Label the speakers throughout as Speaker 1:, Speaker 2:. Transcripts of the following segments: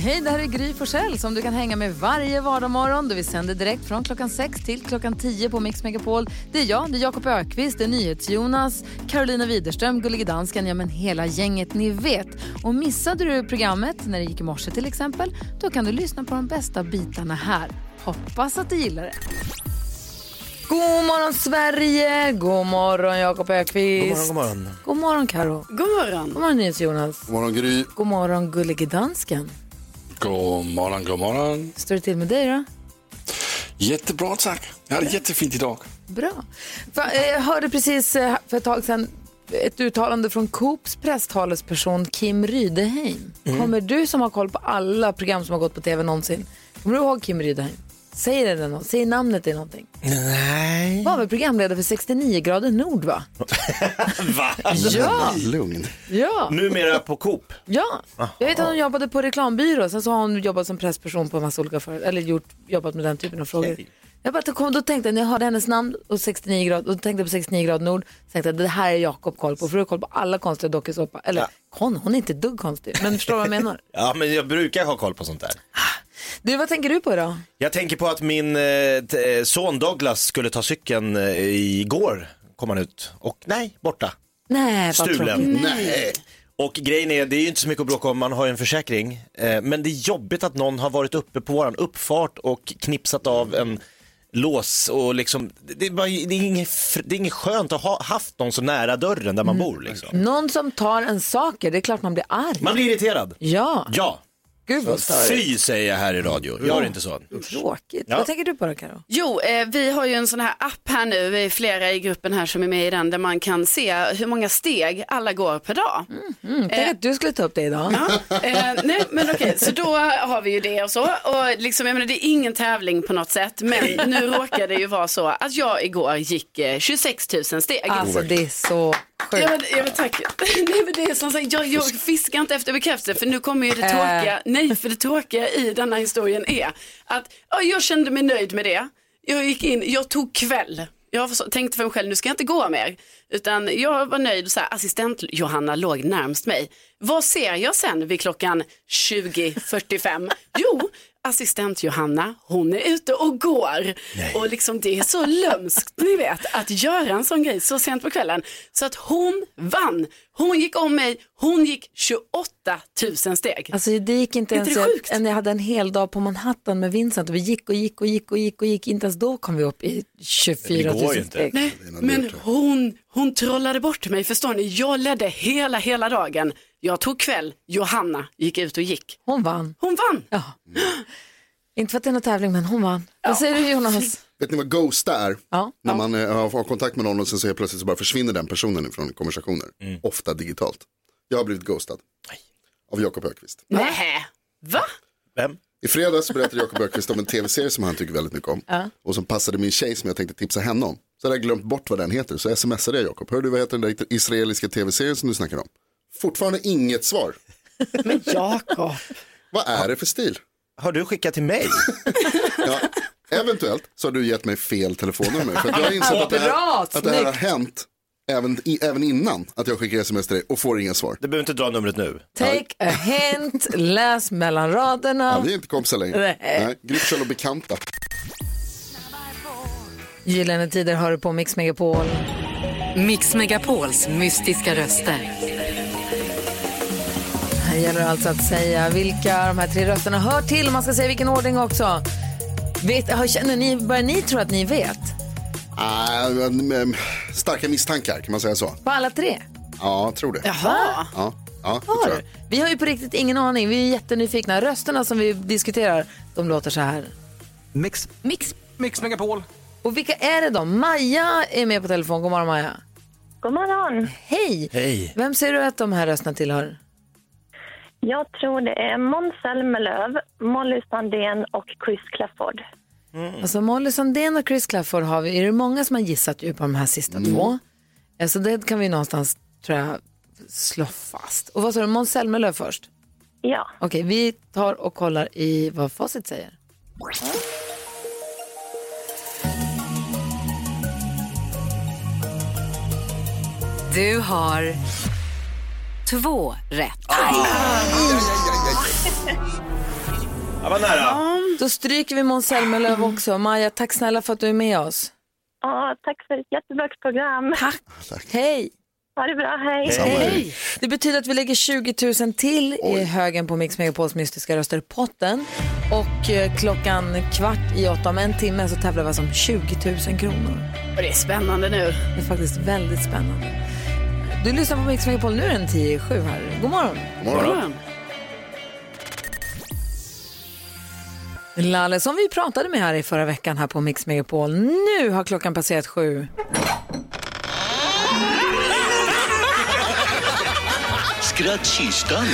Speaker 1: Hej, det här är Gry Forssell som du kan hänga med varje vardagsmorgon. Vi sänder direkt från klockan 6 till klockan 10 på Mix Megapol. Det är jag, det är Jakob Ökvist, det är NyhetsJonas, Carolina Widerström, Gullige Dansken, ja men hela gänget ni vet. Och missade du programmet när det gick i morse till exempel, då kan du lyssna på de bästa bitarna här. Hoppas att du gillar det. God morgon Sverige! God morgon Jakob Ökvist. God morgon, god morgon. God morgon Karo. God morgon. God morgon NyhetsJonas.
Speaker 2: God morgon Gry.
Speaker 1: God morgon Gullige Dansken.
Speaker 2: God morgon, god morgon.
Speaker 1: Står det till med dig då?
Speaker 2: Jättebra tack. Jag hade jättefint idag.
Speaker 1: Bra. Va- eh, Jag hörde precis eh, för ett tag sedan ett uttalande från Coops presstalesperson Kim Rydeheim. Kommer du som har koll på alla program som har gått på tv någonsin, kommer du ihåg Kim Rydeheim? Säger det något? Säger namnet dig någonting?
Speaker 3: Nej.
Speaker 1: Var väl programledare för 69 grader nord va?
Speaker 3: Va?
Speaker 1: Ja,
Speaker 2: Lugn.
Speaker 1: ja,
Speaker 3: Numera på Coop.
Speaker 1: ja. Jag vet att hon jobbade på reklambyrå, sen så har hon jobbat som pressperson på en massa olika företag, eller gjort, jobbat med den typen av frågor. Jag bara, då kom, då tänkte jag, när jag hörde hennes namn och 69 grad, och tänkte jag på 69 grader nord, så tänkte jag det här är Jakob koll på, för du har koll på alla konstiga dokusåpa. Eller kon, hon är inte ett dugg konstig, men förstår vad jag menar.
Speaker 3: Ja, men jag brukar ha koll på sånt där.
Speaker 1: Du, vad tänker du på idag?
Speaker 3: Jag tänker på att min eh, t- eh, son Douglas skulle ta cykeln eh, igår, kom han ut. Och nej, borta.
Speaker 1: Nej, vad tråkigt.
Speaker 3: Stulen. Nej. Och grejen är, det är ju inte så mycket att bråka om, man har ju en försäkring. Eh, men det är jobbigt att någon har varit uppe på våran uppfart och knipsat av en lås och liksom, det är, bara, det är, inget, fr- det är inget skönt att ha haft någon så nära dörren där man bor liksom.
Speaker 1: Någon som tar en saker, det är klart man blir arg.
Speaker 3: Man blir irriterad.
Speaker 1: Ja,
Speaker 3: Ja,
Speaker 1: gud vad störigt.
Speaker 3: fy säger jag här i radio. Gör inte så.
Speaker 1: Tråkigt.
Speaker 3: Ja.
Speaker 1: Vad tänker du på då, Karo?
Speaker 4: Jo, eh, vi har ju en sån här app här nu, vi är flera i gruppen här som är med i den, där man kan se hur många steg alla går per dag.
Speaker 1: Tänk att du skulle ta upp det idag.
Speaker 4: Eh, nej, men okej, så då har vi ju det och så. Och liksom, jag menar, det är ingen tävling på något sätt, men nu råkar det ju vara så att jag igår gick eh, 26 000 steg.
Speaker 1: Alltså det är så sjukt.
Speaker 4: Ja men, ja, men tack. Nej, men det är som sagt, jag, jag fiskar inte efter bekräftelse för nu kommer ju det tråkiga, nej för det tråkiga i denna historien är att ja, jag kände mig nöjd med det. Jag gick in, jag tog kväll. Jag förs- tänkte för mig själv, nu ska jag inte gå mer. Utan jag var nöjd och så här, assistent Johanna låg närmst mig. Vad ser jag sen vid klockan 20.45? Jo, assistent Johanna, hon är ute och går. Och liksom det är så lömskt, ni vet, att göra en sån grej så sent på kvällen. Så att hon vann. Hon gick om mig, hon gick 28 000 steg.
Speaker 1: Alltså det gick inte
Speaker 4: Är inte
Speaker 1: ens,
Speaker 4: det
Speaker 1: jag,
Speaker 4: sjukt?
Speaker 1: en- jag hade en hel dag på Manhattan med Vincent och vi gick och gick och gick och gick och gick, inte ens då kom vi upp i 24
Speaker 3: Det
Speaker 1: 000
Speaker 3: går ju inte.
Speaker 1: steg.
Speaker 4: Nej, men hon, hon trollade bort mig, förstår ni? Jag ledde hela, hela dagen. Jag tog kväll, Johanna gick ut och gick.
Speaker 1: Hon vann.
Speaker 4: Hon vann.
Speaker 1: Ja. Inte för att det är någon tävling men hon vann. Vad säger du Jonas?
Speaker 5: Vet ni vad ghosta är?
Speaker 1: Ja.
Speaker 5: När man eh, har, har kontakt med någon och sen så helt plötsligt så bara försvinner den personen från konversationer. Ofta digitalt. Jag har blivit ghostad. Av Jakob Ökvist.
Speaker 4: Nej, va?
Speaker 3: Vem?
Speaker 5: I fredags berättade Jakob Ökvist om en tv-serie som han tycker väldigt mycket om. Och som passade min tjej som jag tänkte tipsa henne om. Så hade jag glömt bort vad den heter. Så smsade jag Jakob. Hör du vad heter den där israeliska tv-serien som du snackar om? Fortfarande inget svar.
Speaker 4: Men Jakob.
Speaker 5: Vad är det för stil?
Speaker 3: Har du skickat till mig?
Speaker 5: Ja, eventuellt så har du gett mig fel telefonnummer. För att jag har insett att det
Speaker 1: Bra,
Speaker 5: här, att det här har
Speaker 1: snyggt.
Speaker 5: hänt även, i, även innan att jag skickar sms till dig och får inga svar.
Speaker 3: Du behöver inte dra numret nu.
Speaker 1: Take a hint, läs mellan
Speaker 5: Ja,
Speaker 1: raderna.
Speaker 5: vi är inte kompisar längre.
Speaker 1: Nej.
Speaker 5: Nej, Gryfsel och bekanta.
Speaker 1: Gyllene tider hör du på Mix Megapol.
Speaker 6: Mix Megapols mystiska röster.
Speaker 1: Här gäller det alltså att säga vilka de här tre rösterna hör till. Man ska säga vilken ordning också. Vet, har- känner ni, börjar ni tro att ni vet?
Speaker 5: Ah, men, men, starka misstankar, kan man säga så?
Speaker 1: På alla tre?
Speaker 5: Ja, tror det.
Speaker 4: Jaha.
Speaker 5: Ja, ja, det tror
Speaker 1: Har.
Speaker 5: jag.
Speaker 1: Vi har ju på riktigt ingen aning. Vi är jättenyfikna. Rösterna som vi diskuterar, de låter så här.
Speaker 7: Mix.
Speaker 1: Mix.
Speaker 7: Mix Megapol.
Speaker 1: Och vilka är det då? Maja är med på telefon. God morgon Maja.
Speaker 8: God morgon.
Speaker 1: Hej!
Speaker 3: Hej.
Speaker 1: Vem ser du att de här rösterna tillhör?
Speaker 8: Jag tror det är Måns Zelmerlöw, Molly Sandén och Chris Clafford.
Speaker 1: Mm. Alltså Molly Sandén och Chris Clafford har vi. Är det många som har gissat ju på de här sista två? Eh, Så det kan vi någonstans, tror jag, slå fast. Och vad sa du, Måns Zelmerlöw först?
Speaker 8: Ja.
Speaker 1: Okej, vi tar och kollar i vad facit säger.
Speaker 6: Du har två rätt.
Speaker 3: Jag var nära.
Speaker 1: Då stryker vi Måns Zelmerlöw
Speaker 6: Mm.
Speaker 1: också. Maja, tack snälla för att du är med oss.
Speaker 8: Ja, tack för ett jättebra program.
Speaker 1: Tack. Hej!
Speaker 8: Ha det bra, hej.
Speaker 1: Hej! Det betyder att vi lägger 20 000 till i högen på Mix Megapols mystiska röster-potten. Och eh, klockan kvart i åtta, om en timme, så tävlar vi alltså om 20 000 kronor.
Speaker 4: Och det är spännande nu.
Speaker 1: Det är faktiskt väldigt spännande. Du lyssnar på Mix Megapol, nu är den 10 i sju här. God morgon!
Speaker 4: Morgon.
Speaker 1: Lalle, som vi pratade med här i förra veckan här på Mix Megapol. Nu har klockan passerat sju.
Speaker 9: Skrattkistan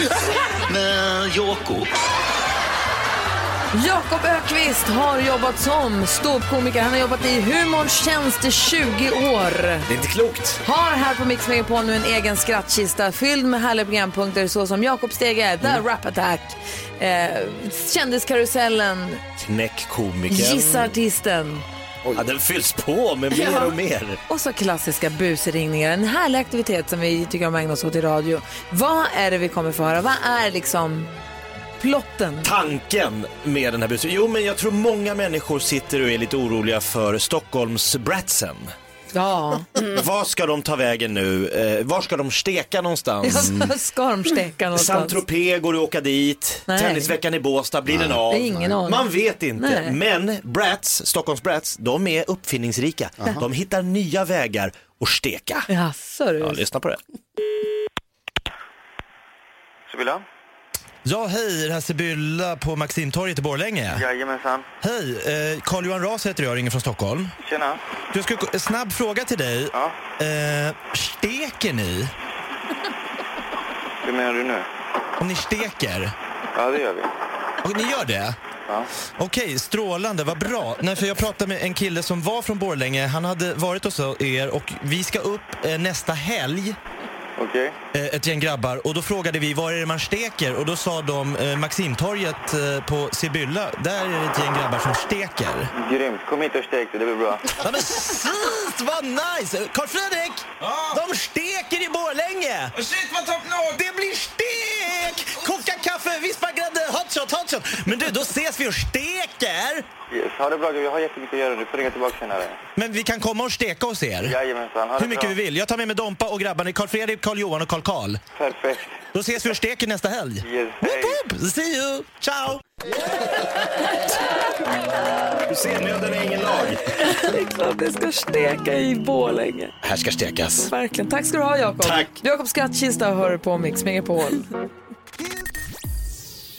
Speaker 9: med Jakob.
Speaker 1: Jakob Ökvist har jobbat som ståuppkomiker. Han har jobbat i humorns tjänst i 20 år.
Speaker 3: Det är inte klokt.
Speaker 1: Har här på Mix Megapol nu en egen skrattkista fylld med härliga programpunkter såsom Jakob Stege, The Rap Attack, eh, Kändiskarusellen,
Speaker 3: Knäck komikern.
Speaker 1: Gissa Artisten.
Speaker 3: Ja, den fylls på med mer
Speaker 1: Ja.
Speaker 3: och mer.
Speaker 1: Och så klassiska busringningar. En härlig aktivitet som vi tycker om att ägna oss åt i radio. Vad är det vi kommer få höra? Vad är liksom plotten?
Speaker 3: Tanken med den här bussen. Jo, men jag tror många människor sitter och är lite oroliga för Stockholmsbratsen.
Speaker 1: Ja,
Speaker 3: Var ska de ta vägen nu? Eh, var ska de steka någonstans?
Speaker 1: ska de steka någonstans?
Speaker 3: Mm. Saint-Tropez går det att åka dit.
Speaker 1: Nej.
Speaker 3: Tennisveckan i Båstad, blir den av?
Speaker 1: Det är ingen aning.
Speaker 3: Man vet inte.
Speaker 1: Nej.
Speaker 3: Men Brats, Stockholms Brats, de är uppfinningsrika. De hittar nya vägar att steka.
Speaker 1: Jaså du.
Speaker 3: Ja, lyssna på det.
Speaker 10: Sibylla?
Speaker 11: Ja, hej, det här är Sibylla på Maximtorget i Borlänge.
Speaker 10: Jajamensan.
Speaker 11: Hej, eh, Carl-Johan Ras heter jag, ringer från Stockholm.
Speaker 10: Tjena.
Speaker 11: Du, jag ska, snabb fråga till dig.
Speaker 10: Ja.
Speaker 11: Eh, steker ni?
Speaker 10: Hur menar du nu?
Speaker 11: Om ni steker?
Speaker 10: Ja, det gör vi.
Speaker 11: Och ni gör det?
Speaker 10: Ja.
Speaker 11: Okej, strålande, vad bra. Nej, för jag pratade med en kille som var från Borlänge. Han hade varit hos er och vi ska upp eh, nästa helg.
Speaker 10: Okej.
Speaker 11: Eh, ett gäng grabbar och då frågade vi var är det man steker och då sa de eh, Maximtorget eh, på Sibylla, där är det ett gäng grabbar som steker.
Speaker 10: Grymt. Kom hit och stek det, det blir bra.
Speaker 11: Ja, men sist, vad nice! Carl Fredrik! De steker i Borlänge! Shit, vad toppnål! Det blir stek! Koka kaffe, vispa grädde, hotshot, hotshot! Men du, då ses vi och steker!
Speaker 10: Yes. Ha det bra, jag har jättemycket att göra. Du får ringa tillbaka senare.
Speaker 11: Men vi kan komma och steka hos er.
Speaker 10: Jajamensan, ha det
Speaker 11: Hur mycket
Speaker 10: bra.
Speaker 11: vi vill. Jag tar med mig Dompa och grabbarna, Carl Fredrik, Carl Johan och Carl Carl.
Speaker 10: Perfekt.
Speaker 11: Då ses vi och steker nästa helg.
Speaker 10: Yes,
Speaker 11: Woop, woop. See you! Ciao!
Speaker 3: Du ser, nöden är ingen lag.
Speaker 1: Det är klart det ska steka i Borlänge.
Speaker 3: Här ska stekas.
Speaker 1: Verkligen. Tack ska du ha, Jakob.
Speaker 3: Tack.
Speaker 1: Jakob Skattkista hör på Mix Megapol.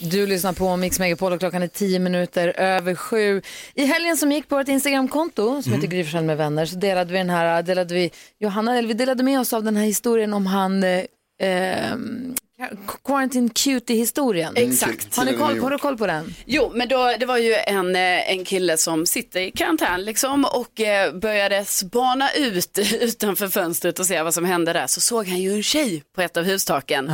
Speaker 1: Du lyssnar på Mix Megapol och klockan är tio minuter över sju. I helgen som gick på vårt Instagramkonto som
Speaker 12: Mm.
Speaker 1: heter Gry Forssell med vänner så delade vi den här, delade vi, Johanna, eller vi delade med oss av den här historien om han eh, eh, Quarantine Cutie-historien.
Speaker 4: Exakt.
Speaker 1: Har, ni koll, har du koll på den?
Speaker 4: Jo, men då, det var ju en, eh, en kille som sitter i karantän liksom och eh, började spana ut utanför fönstret och se vad som hände där. Så såg han ju en tjej på ett av hustaken.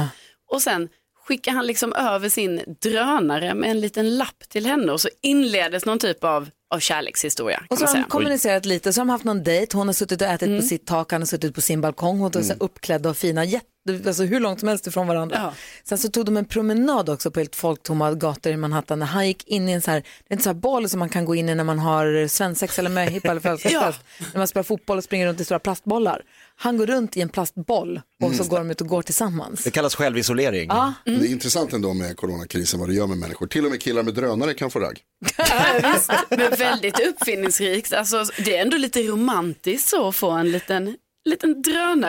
Speaker 4: Och sen skickade han liksom över sin drönare med en liten lapp till henne och så inleddes någon typ av, av kärlekshistoria. kan
Speaker 1: Och så
Speaker 4: man
Speaker 1: har de
Speaker 4: säga.
Speaker 1: kommunicerat lite, så har de haft någon dejt, hon har suttit och ätit på sitt tak, han har suttit på sin balkong, hon är så
Speaker 4: Mm.
Speaker 1: uppklädda och fina, jätte, alltså hur långt som helst ifrån varandra.
Speaker 4: Ja.
Speaker 1: Sen så tog de en promenad också på helt folktomma gator i Manhattan, när han gick in i en så här, det är en så här boll som man kan gå in i när man har svensex eller möhippa eller födelsedagsfest, när man spelar fotboll och springer runt i stora plastbollar. Han går runt i en plastboll och så
Speaker 5: Mm.
Speaker 1: går de ut och går tillsammans.
Speaker 3: Det kallas självisolering.
Speaker 1: Ja.
Speaker 5: Det är intressant ändå med coronakrisen vad det gör med människor. Till och med killar med drönare kan få ragg.
Speaker 4: Ja, visst. Men väldigt uppfinningsrikt. Alltså, det är ändå lite romantiskt så att få en liten, liten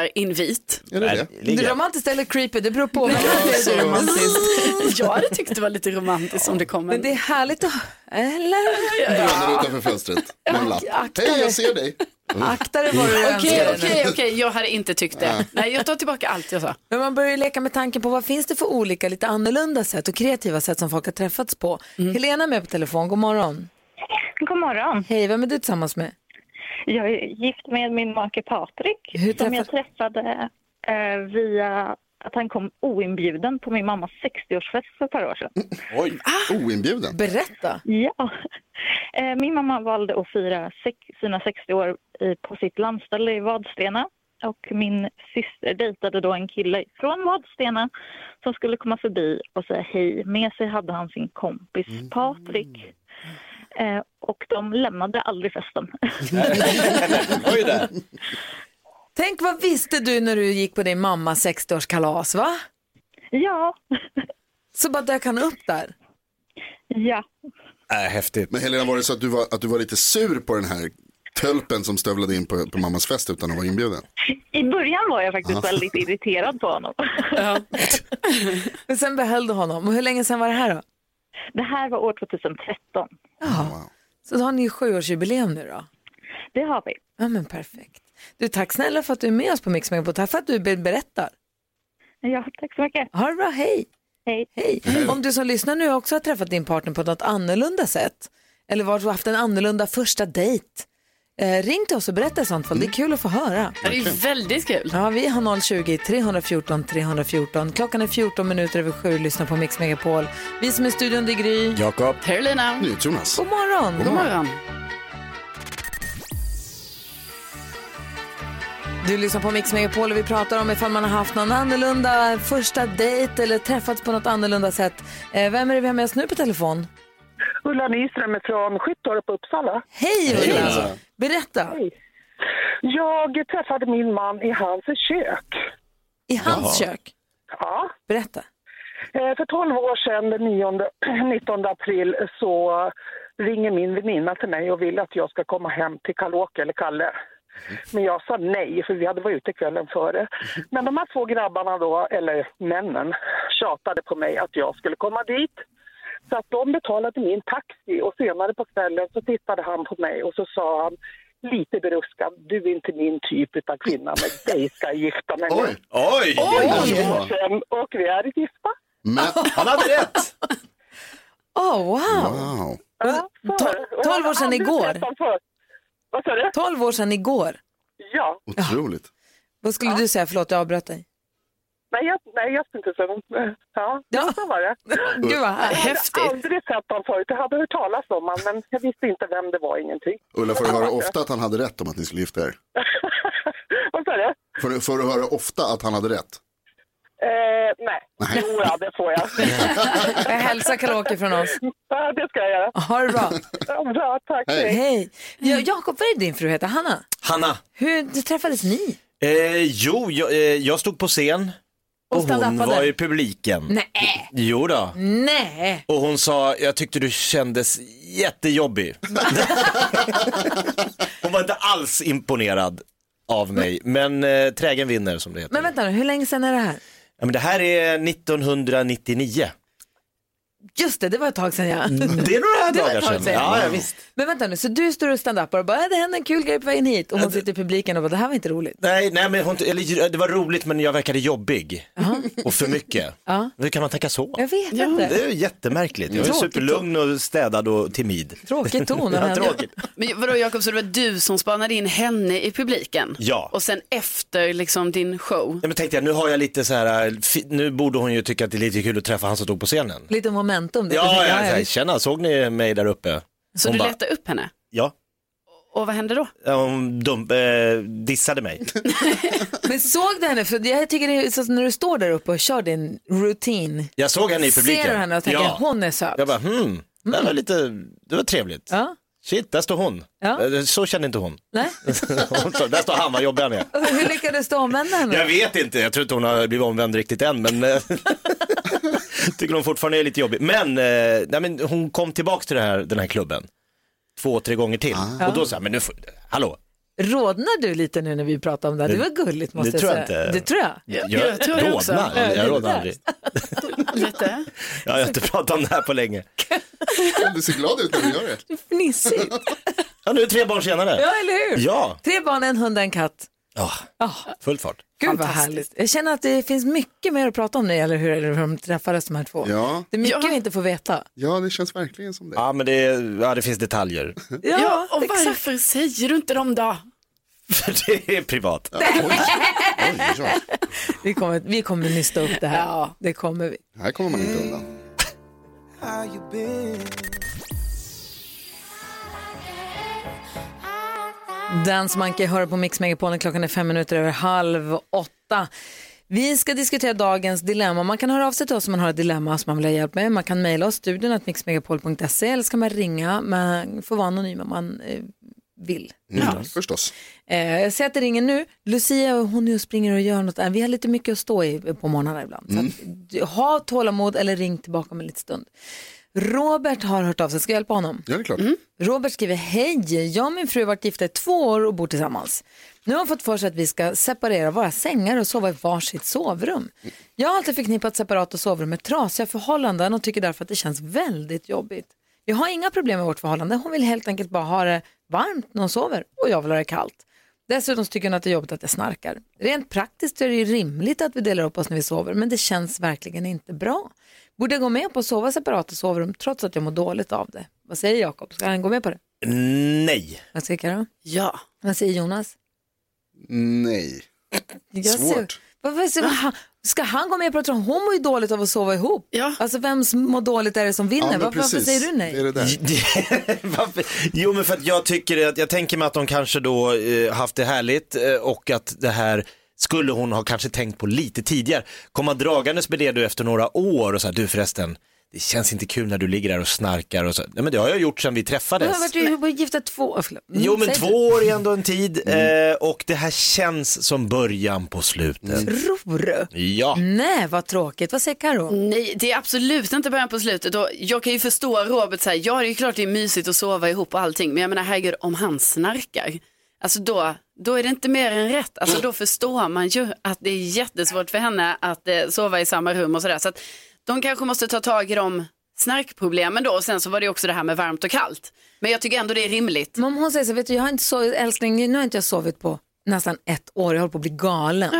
Speaker 4: drönarinvit.
Speaker 5: Är
Speaker 1: Det är romantiskt eller creepy, det beror på.
Speaker 4: det är romantiskt. Jag hade tyckt det var lite romantiskt om det kom en...
Speaker 1: Men det är härligt att... Eller?
Speaker 5: Drönare utanför fönstret. Med en lapp.
Speaker 1: Akta
Speaker 5: Hej,
Speaker 1: dig.
Speaker 5: jag ser dig. Mm.
Speaker 1: Akta dig vad du önskar
Speaker 4: Okej,
Speaker 1: dig.
Speaker 4: okej, okej, jag hade inte tyckt det. Nej, jag tar tillbaka allt jag sa.
Speaker 1: Men man börjar ju leka med tanken på vad finns det för olika, lite annorlunda sätt och kreativa sätt som folk har träffats på. Helena är med på telefon, god morgon.
Speaker 13: God morgon.
Speaker 1: Hej, vem är du tillsammans med?
Speaker 8: Jag är gift med min make Patrik
Speaker 1: Hur
Speaker 8: som jag träffade eh, via att han kom oinbjuden på min mammas 60-årsfest för ett par år sedan.
Speaker 5: Oj, oinbjuden.
Speaker 1: Berätta!
Speaker 8: Ja. Eh, Min mamma valde att fira sex- sina 60 år i- på sitt landställe i Vadstena. Och min syster dejtade då en kille från Vadstena som skulle komma förbi och säga hej. Med sig hade han sin kompis
Speaker 5: Mm.
Speaker 8: Patrik. Eh, Och de lämnade aldrig festen.
Speaker 3: Oj där.
Speaker 1: Tänk vad visste du när du gick på din mammas 60-årskalas va?
Speaker 8: Ja.
Speaker 1: Så bara dök han upp där?
Speaker 8: Ja.
Speaker 3: Äh, häftigt.
Speaker 5: Men Helena, var det så att du var, att du var lite sur på den här tölpen som stövlade in på, på mammas fest utan att vara inbjuden?
Speaker 8: I början var jag faktiskt
Speaker 5: Ja.
Speaker 8: väldigt irriterad på honom.
Speaker 1: Men sen behöll du honom. Och hur länge sen var det här då?
Speaker 8: Det här var år 2013.
Speaker 1: Ja. Så då har ni ju sjuårsjubileum nu då?
Speaker 8: Det har vi.
Speaker 1: Ja men perfekt. Du, tack snälla för att du är med oss på Mix Megapol. Tack för att du be- berättar.
Speaker 8: Ja, tack så mycket.
Speaker 1: Ha det bra, hej.
Speaker 8: Hej.
Speaker 1: hej. Om du som lyssnar nu också har träffat din partner på något annorlunda sätt eller varit haft en annorlunda första dejt, eh, ring till oss och berätta i sånt fall. Det är kul att få höra.
Speaker 4: Ja, Det är väldigt kul.
Speaker 1: Ja, vi har 020-314 314. Klockan är 14 minuter över sju. Lyssna på Mix Megapol. Vi som är i studion, det är Gry.
Speaker 3: Jakob.
Speaker 4: Carolina.
Speaker 5: Jonas.
Speaker 1: God morgon.
Speaker 4: God morgon.
Speaker 1: Du lyssnar på Mix Megapol och vi pratar om ifall man har haft någon annorlunda första dejt eller träffats på något annorlunda sätt. Eh, Vem är det vi har med oss nu på telefon?
Speaker 12: Ulla Nyström från Skyttorp, Uppsala.
Speaker 1: Hej Ulla! Berätta!
Speaker 12: Jag träffade min man i hans kök.
Speaker 1: I hans kök?
Speaker 12: Ja.
Speaker 1: Berätta.
Speaker 12: Eh, För 12 år sedan, den 9, 19 april, så ringer min väninna till mig och vill att jag ska komma hem till Kalåke eller Kalle. Men jag sa nej, för vi hade varit ute kvällen före. Men de här två grabbarna då, eller männen, tjatade på mig att jag skulle komma dit. Så att de betalade min taxi och senare på kvällen så tittade han på mig och så sa han lite beruskad, du är inte min typ av kvinna, men dig ska jag gifta mig med.
Speaker 3: Oj!
Speaker 12: Det är
Speaker 3: Oj!
Speaker 12: tio år sedan och vi är gifta.
Speaker 5: Men
Speaker 3: han hade rätt!
Speaker 1: Åh, oh, wow!
Speaker 5: wow.
Speaker 1: Och to- 12 år sedan igår?
Speaker 12: Vad sa du?
Speaker 1: 12 år sedan igår.
Speaker 12: Ja.
Speaker 5: Otroligt.
Speaker 1: Vad skulle du säga? Förlåt, jag avbröt dig.
Speaker 12: Nej, jag, nej, jag ska inte säga något. Ja, ja. så var det.
Speaker 1: Gud, vad
Speaker 12: häftigt. Jag hade aldrig sett honom förut. Jag hade hört talas om honom, men jag visste inte vem det var, ingenting.
Speaker 5: Ulla, får du höra ofta att han hade rätt om att ni skulle gifta er?
Speaker 12: Vad sa du?
Speaker 5: Får du, får du höra ofta att han hade rätt?
Speaker 12: Eh, nej, jo, ja, det får jag.
Speaker 1: Jag hälsar Karaoke från oss.
Speaker 12: Ja, det ska jag göra.
Speaker 1: Ha det bra.
Speaker 12: Bra, tack.
Speaker 3: Hej.
Speaker 1: Hej. Ja, Jakob, vad är det din fru heter? Hanna?
Speaker 3: Hanna.
Speaker 1: Hur träffades ni?
Speaker 3: Eh, jo, jag, eh, jag stod på scen och,
Speaker 1: Och stand-upade.
Speaker 3: hon var i publiken.
Speaker 1: Nej.
Speaker 3: Jo då.
Speaker 1: Nej.
Speaker 3: Och hon sa, jag tyckte du kändes jättejobbig. hon var inte alls imponerad av mig, men eh, trägen vinner som det heter.
Speaker 1: Men vänta nu, hur länge sedan är det här?
Speaker 3: Ja, men det här är 1999.
Speaker 1: Just det, det var ett tag sedan ja.
Speaker 3: Det är Mm. några
Speaker 1: Det var ett
Speaker 3: dagar
Speaker 1: tag
Speaker 3: sedan. Ja, ja, visst.
Speaker 1: Men vänta nu, så du står och stand-upar och bara, "Äh, det hände en kul grej på vägen hit. Och hon sitter i publiken och bara, det här var inte roligt.
Speaker 3: Nej, nej men hon, eller, det var roligt men jag verkade jobbig. Och för mycket.
Speaker 1: Ja.
Speaker 3: Hur kan man tänka så?
Speaker 1: Jag vet
Speaker 3: Ja,
Speaker 1: inte.
Speaker 3: Det är ju jättemärkligt. Jag är
Speaker 1: Tråkigt.
Speaker 3: superlugn och städad och timid.
Speaker 1: Tråkig ton av
Speaker 3: ja,
Speaker 1: henne.
Speaker 3: tråkigt.
Speaker 4: Men vadå Jakob, så det var du som spanade in henne i publiken?
Speaker 3: Ja.
Speaker 4: Och sen efter liksom din show?
Speaker 3: Nej, men tänkte jag, nu har jag lite så här, fi- nu borde hon ju tycka att det är lite kul att träffa han som stod på scenen.
Speaker 1: Lite momentum. där.
Speaker 3: Ja, ja, ja,
Speaker 1: visst.
Speaker 3: tjena, såg ni mig där uppe?
Speaker 4: Så
Speaker 3: hon
Speaker 4: du
Speaker 3: bara,
Speaker 4: letade upp henne?
Speaker 3: Ja,
Speaker 4: Och vad hände då?
Speaker 3: hon dum, eh, dissade mig.
Speaker 1: Men såg du henne? För jag tycker det är så när du står där uppe och kör din routine.
Speaker 3: Jag såg henne i publiken.
Speaker 1: Ser du henne och tänker,
Speaker 3: Ja.
Speaker 1: hon är söt.
Speaker 3: Jag bara, hmm, det var lite, det var trevligt.
Speaker 1: Ja.
Speaker 3: Shit, där står hon.
Speaker 1: Ja.
Speaker 3: Eh, Så känner inte hon.
Speaker 1: Nej.
Speaker 3: hon sa, där står han, vad jobbig han är.
Speaker 1: Och Hur lyckades du omvända henne?
Speaker 3: Jag vet inte, jag tror inte hon har blivit omvänd riktigt än men eh, tycker hon fortfarande är lite jobbig. Men, eh, nej, men hon kom tillbaka till det här, den här klubben två, tre gånger till och då sa jag, men nu får, hallå,
Speaker 1: Rodnar du lite nu när vi pratar om det här? Det var gulligt måste
Speaker 3: det
Speaker 1: jag
Speaker 3: tror
Speaker 1: säga.
Speaker 3: jag inte.
Speaker 1: Det tror jag.
Speaker 3: rodnar, jag rodnar aldrig.
Speaker 4: Lite.
Speaker 3: Jag har inte pratat om det här på länge.
Speaker 5: Du ser glad ut när du gör det.
Speaker 1: Fnissigt.
Speaker 3: Ja, nu är det tre barn senare.
Speaker 1: Ja, eller hur?
Speaker 3: Ja.
Speaker 1: Tre barn, en hund, en katt.
Speaker 3: Ja, full fart.
Speaker 1: Gud vad härligt. Jag känner att det finns mycket mer att prata om när det gäller hur, hur de träffades de här två.
Speaker 3: Ja.
Speaker 1: Det är mycket vi inte får veta.
Speaker 5: Ja, det känns verkligen som det.
Speaker 3: Ja, men det, ja, det finns detaljer.
Speaker 4: Ja, och varför säger du inte dem då?
Speaker 3: För det är privat.
Speaker 1: Vi kommer, vi kommer nysta upp det här. Det kommer vi.
Speaker 5: Här kommer man inte undan.
Speaker 1: Dance Monkey hör på Mix Megapolen. Klockan är fem minuter över halv åtta. Vi ska diskutera dagens dilemma. Man kan höra av sig till oss om man har ett dilemma som man vill ha hjälp med. Man kan mejla oss, studion att mixmegapol.se eller ska man ringa. Man får vara anonym om man eh, vill.
Speaker 5: Ja, förstås.
Speaker 1: Eh, jag ser att det ringer nu. Lucia hon nu springer och gör något. Eh, Vi har lite mycket att stå i eh, på morgnarna ibland. Så att, ha tålamod eller ring tillbaka om en liten stund. Robert har hört av sig, ska jag hjälpa honom?
Speaker 5: Ja, det är klart.
Speaker 1: Robert skriver, hej, jag och min fru har varit gifta i två år och bor tillsammans. Nu har hon fått för sig att vi ska separera våra sängar och sova i varsitt sovrum. Jag har alltid förknippat separata sovrum med trasiga förhållanden och tycker därför att det känns väldigt jobbigt. Vi har inga problem med vårt förhållande, hon vill helt enkelt bara ha det varmt när hon sover och jag vill ha det kallt. Dessutom så tycker hon att det är jobbigt att jag snarkar. Rent praktiskt är det ju rimligt att vi delar upp oss när vi sover, men det känns verkligen inte bra. Borde jag gå med på att sova separata sovrum trots att jag mår dåligt av det? Vad säger Jakob? Ska han gå med på det?
Speaker 3: Nej.
Speaker 1: Vad säger Karo?
Speaker 4: Ja.
Speaker 1: Vad säger Jonas?
Speaker 5: Nej.
Speaker 1: Jag
Speaker 5: Svårt.
Speaker 1: Vad- vad- vad- han- Ska han gå med på det? Hon mår ju dåligt av att sova ihop. Ja. Alltså vem som mår dåligt är det som vinner?
Speaker 3: Ja, men
Speaker 1: varför, varför
Speaker 3: precis.
Speaker 1: säger du nej?
Speaker 5: det där.
Speaker 3: Jo, men för att jag tycker att, jag tänker mig att de kanske då eh, haft det härligt eh, och att det här skulle hon ha kanske tänkt på lite tidigare. Komma dragandes med det du efter några år och så här, du förresten, det känns inte kul när du ligger där och snarkar och så. Nej, men det har jag gjort sedan vi
Speaker 1: Du
Speaker 3: träffades.
Speaker 1: har varit ihop och gifta två år. Förlåt. Mm,
Speaker 3: Jo, men
Speaker 1: säg
Speaker 3: två år är ändå en tid eh, och det här känns som början på slutet.
Speaker 1: Tror du?
Speaker 3: Ja.
Speaker 1: Nej, vad tråkigt. Vad säger Karo?
Speaker 4: Nej, det är absolut inte början på slutet. Och jag kan ju förstå Robert, så här, ja det är ju klart det är mysigt att sova ihop och allting, men jag menar herregud om han snarkar, alltså då, då är det inte mer än rätt. Alltså då förstår man ju att det är jättesvårt för henne att eh, sova i samma rum och sådär. Så att de kanske måste ta tag i de snarkproblemen då och sen så var det ju också det här med varmt och kallt. Men jag tycker ändå det är rimligt.
Speaker 1: Men om hon säger så, vet du, jag har inte sovit, älskling, nu har inte jag sovit på nästan ett år, jag håller på att bli galen.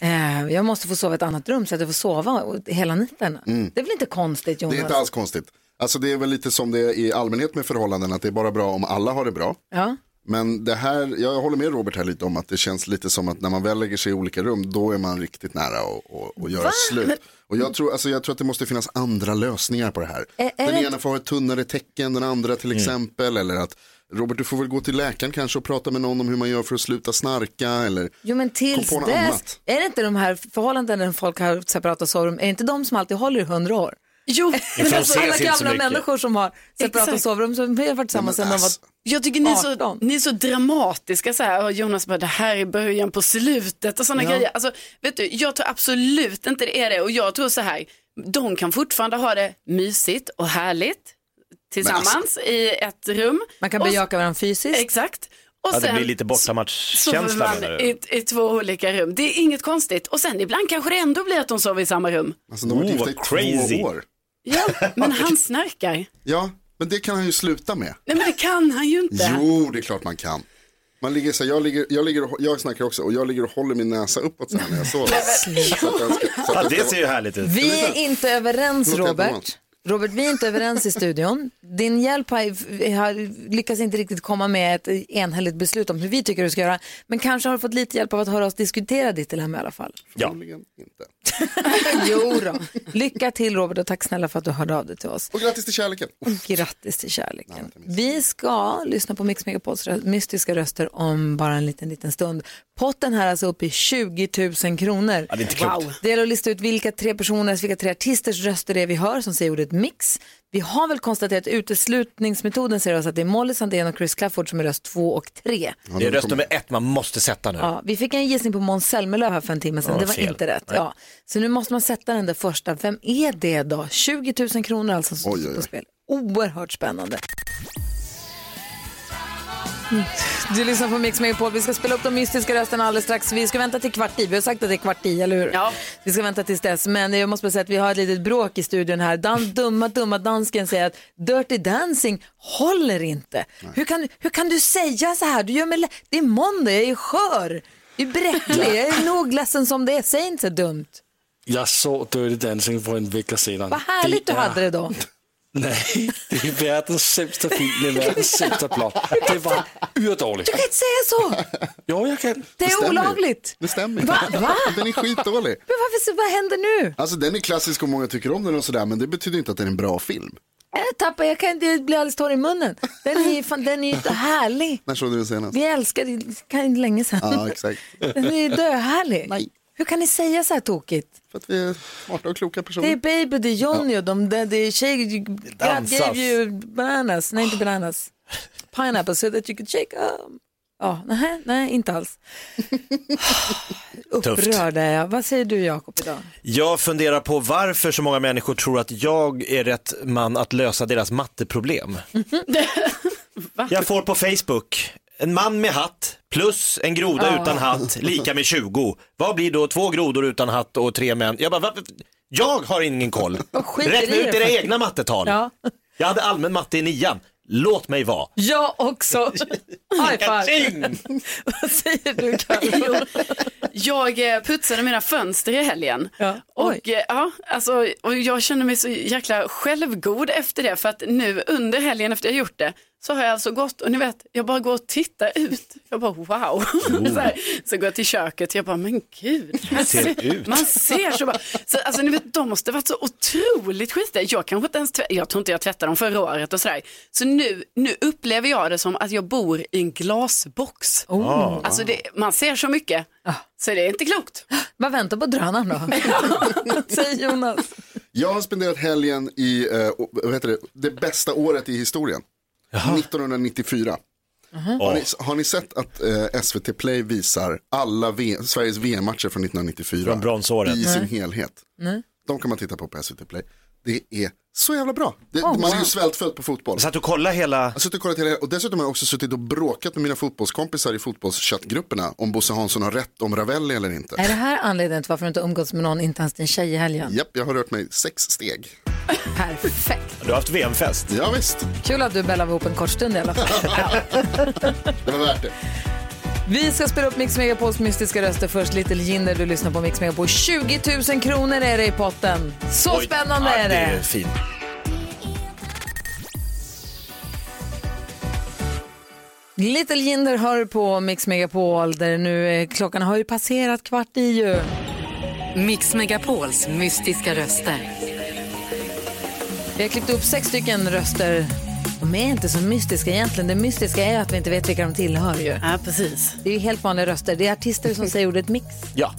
Speaker 1: Eh, jag måste få sova i ett annat rum så att jag får sova och- hela nätterna.
Speaker 5: Mm.
Speaker 1: Det är väl inte konstigt Jonas?
Speaker 5: Det är inte alls konstigt. Alltså det är väl lite som det är i allmänhet med förhållanden, att det är bara bra om alla har det bra.
Speaker 1: Ja.
Speaker 5: Men det här, jag håller med Robert här lite om att det känns lite som att när man väl lägger sig i olika rum, då är man riktigt nära och, och, och göra
Speaker 1: Va? Men-
Speaker 5: slut. Och jag tror, alltså jag tror att det måste finnas andra lösningar på det här.
Speaker 1: Ä- är
Speaker 5: den
Speaker 1: det-
Speaker 5: ena får ha ett tunnare tecken, den andra till exempel, eller att Robert, du får väl gå till läkaren kanske och prata med någon om hur man gör för att sluta snarka, eller
Speaker 1: Jo men tills
Speaker 5: Kom på något
Speaker 1: dess,
Speaker 5: annat.
Speaker 1: är det inte de här förhållandena där folk har separata sovrum, är det inte de som alltid håller i hundra år?
Speaker 4: Jo,
Speaker 1: men
Speaker 4: de
Speaker 1: alltså,
Speaker 4: ses
Speaker 1: alla
Speaker 4: inte så
Speaker 1: gamla
Speaker 4: mycket.
Speaker 1: människor som har separata
Speaker 4: Exakt.
Speaker 1: sovrum som har varit tillsammans sedan de var...
Speaker 4: Jag tycker ni är, så, ni är så dramatiska så här, och Jonas bara det här är början på slutet och sådana
Speaker 1: Ja.
Speaker 4: grejer. Alltså, vet du, jag tror absolut inte det är det och jag tror så här, de kan fortfarande ha det mysigt och härligt tillsammans
Speaker 1: Men alltså-
Speaker 4: i ett rum.
Speaker 1: Man kan
Speaker 4: Och s-
Speaker 1: bejaka varandra fysiskt.
Speaker 4: Exakt. Och
Speaker 3: Ja, det
Speaker 4: sen
Speaker 3: blir lite
Speaker 4: sover
Speaker 3: bortamatchkänsla menar
Speaker 4: man
Speaker 3: du?
Speaker 4: i, i två olika rum. Det är inget konstigt. Och sen ibland kanske det ändå blir att de sover i samma rum.
Speaker 5: Alltså de har varit
Speaker 3: Oh,
Speaker 5: gifta i två
Speaker 3: vad crazy.
Speaker 5: år.
Speaker 4: Ja, men han snarkar. Nej
Speaker 5: Ja, men det kan han ju sluta med.
Speaker 4: men det kan han ju inte.
Speaker 5: Jo, det är klart man kan. Man ligger så här, jag, ligger, jag, ligger och, jag snackar också och jag ligger och håller min näsa uppåt så här när jag sover. Så att den ska- så att
Speaker 3: Ja,
Speaker 5: den
Speaker 3: det
Speaker 5: ska-
Speaker 3: ser ju härligt ut.
Speaker 1: Vi är inte överens
Speaker 5: Något helt
Speaker 1: Robert.
Speaker 5: annat.
Speaker 1: Robert, vi är inte överens i studion. Din hjälp har, har lyckats inte riktigt komma med ett enhälligt beslut om hur vi tycker du ska göra. Men kanske har du fått lite hjälp av att höra oss diskutera ditt dilemma i alla fall.
Speaker 3: Ja.
Speaker 1: jo då. Lycka till Robert och tack snälla för att du hörde av dig till oss.
Speaker 5: Och grattis till kärleken.
Speaker 1: Grattis till kärleken. Vi ska lyssna på Mix Megapols rö- mystiska röster om bara en liten, liten stund. Potten här är alltså uppe i 20 000 kronor.
Speaker 3: Ja, det är inte klokt. Wow.
Speaker 1: Det gäller att lista ut vilka tre personers, vilka tre artisters röster det är vi hör som säger ordet mix. Vi har väl konstaterat uteslutningsmetoden säger oss att det är Molly Sandén och Chris Clafford som är röst två och tre.
Speaker 3: Det är röst nummer ett man måste sätta nu.
Speaker 1: Ja, vi fick en gissning på Måns Zelmerlöw här för en timme sedan.
Speaker 3: Ja,
Speaker 1: det var
Speaker 3: fel.
Speaker 1: inte rätt.
Speaker 3: Nej.
Speaker 1: Ja. Så nu måste man sätta den där första. Vem är det då? 20 000 kronor alltså som står på spel. Oerhört spännande. Mm. Du lyssnar på Mix Megapol. Vi ska spela upp de mystiska rösterna alldeles strax. Vi ska vänta till kvart i. Vi har sagt att det är kvart i, eller hur? Ja. Vi ska vänta tills dess. Men jag måste bara säga att vi har ett litet bråk i studion här. Dan, dumma, dumma dansken säger att Dirty Dancing håller inte. Hur kan, hur kan du säga så här? Du gör mig lä- det är måndag, jag är skör. Du är bräcklig, jag är nog ledsen som det är. Säg inte så dumt.
Speaker 13: Jag såg Dirty Dancing för en vecka sedan.
Speaker 1: Vad härligt du
Speaker 13: är-
Speaker 1: hade det då.
Speaker 13: Nej, det är världens sämsta film, det är världens sämsta plott. Det var
Speaker 1: Du
Speaker 13: urdåligt.
Speaker 1: kan inte säga så!
Speaker 13: Jo, jag kan.
Speaker 1: Det är
Speaker 5: stämmer.
Speaker 1: olagligt.
Speaker 5: Det stämmer.
Speaker 1: Va? Va?
Speaker 5: Den är skitdålig.
Speaker 1: Men varför, så- vad händer nu?
Speaker 5: Alltså den är klassisk och många tycker om den och sådär men det betyder inte att den är en bra film.
Speaker 1: Jag tappar, Äh, jag kan inte bli alldeles torr i munnen. Den är ju fan- den är ju inte härlig.
Speaker 5: När såg du den senast?
Speaker 1: Vi älskade kan länge sedan.
Speaker 5: Ja, exakt.
Speaker 1: Den är ju döhärlig. Hur kan ni säga så här tokigt?
Speaker 5: För att vi är smarta och kloka personer.
Speaker 1: Det är Baby, det är Johnny och de, det det är tjej, God
Speaker 5: Dansas.
Speaker 1: gave you bananas, nej inte bananas, pineapple so that you could shake um. Ja, nej, nej, inte alls. Upprörd är jag. Vad säger du Jakob idag?
Speaker 3: Jag funderar på varför så många människor tror att jag är rätt man att lösa deras matteproblem. jag får på Facebook, en man med hatt plus en groda
Speaker 1: Ah.
Speaker 11: Ja.
Speaker 3: utan hatt lika med 20. Vad blir då två grodor utan hatt och tre män? Jag bara, varför? Jag har ingen koll.
Speaker 1: skiter
Speaker 3: Räkna
Speaker 1: i det
Speaker 3: ut era
Speaker 1: faktiskt.
Speaker 3: egna mattetal.
Speaker 1: Ja.
Speaker 3: Jag hade allmän matte i nian. Låt mig vara.
Speaker 1: Jag också. High five. Vad säger du Karin?
Speaker 4: Jag eh, putsade mina fönster i helgen. Och, eh, ja, alltså, och jag kände mig så jäkla självgod efter det för att nu under helgen efter jag gjort det så har jag alltså gått och ni vet, jag bara går och tittar ut. Jag bara wow. Så, här, så går jag till köket jag bara men gud. Man
Speaker 11: ser ut?
Speaker 4: Man ser så bara. Så, alltså ni vet de måste varit så otroligt skitiga. Jag kanske inte ens, tvä- jag tror inte jag tvättade dem förra året och sådär. Så nu, nu upplever jag det som att jag bor i en glasbox.
Speaker 11: Ah.
Speaker 1: Oh.
Speaker 4: Alltså det, man ser så mycket. Så det är inte klokt.
Speaker 1: Vad väntar på drönaren då? Säger Jonas.
Speaker 5: Jag har spenderat helgen i eh, vad heter det, det bästa året i historien. 1994. Har, ni, har ni sett att eh, SVT Play visar alla v, Sveriges VM-matcher från 1994?
Speaker 3: Från bronsåret.
Speaker 5: I sin
Speaker 3: Nej.
Speaker 5: helhet.
Speaker 1: Nej.
Speaker 5: De kan man titta på på SVT Play. Det är så jävla bra. Det,
Speaker 3: Oh,
Speaker 5: man är
Speaker 3: wow.
Speaker 5: ju svältfödd på fotboll.
Speaker 3: Så att du kollar hela...
Speaker 5: Jag har suttit och kollat hela och dessutom har jag också suttit och bråkat med mina fotbollskompisar i fotbollschattgrupperna om Bosse Hansson har rätt om Ravelli eller inte.
Speaker 1: Är det här anledningen till varför du inte umgåtts med någon, inte ens din tjej i helgen?
Speaker 5: Japp, jag har rört mig sex steg.
Speaker 1: Perfekt.
Speaker 3: Du har haft VM-fest.
Speaker 5: Ja, visst.
Speaker 1: Kul att du bällade ihop en kort stund i alla fall.
Speaker 5: Det var värt det.
Speaker 1: Vi ska spela upp Mix Megapols mystiska röster först. Little Jinder, du lyssnar på Mix Megapol. 20 000 kronor är det i potten. Så
Speaker 3: Oj.
Speaker 1: spännande
Speaker 3: Ja,
Speaker 1: är
Speaker 3: Det är
Speaker 1: det.
Speaker 3: fint.
Speaker 1: Little Jinder hör på Mix Megapol där nu är, klockan har ju passerat kvart i ju.
Speaker 6: Mix Megapols mystiska röster.
Speaker 1: Vi har klippt upp sex stycken röster. De är inte så mystiska egentligen. Det mystiska är att vi inte vet vilka de tillhör ju.
Speaker 4: Ja, precis.
Speaker 1: Det är ju helt vanliga röster. Det är artister som säger ordet mix.
Speaker 3: Ja.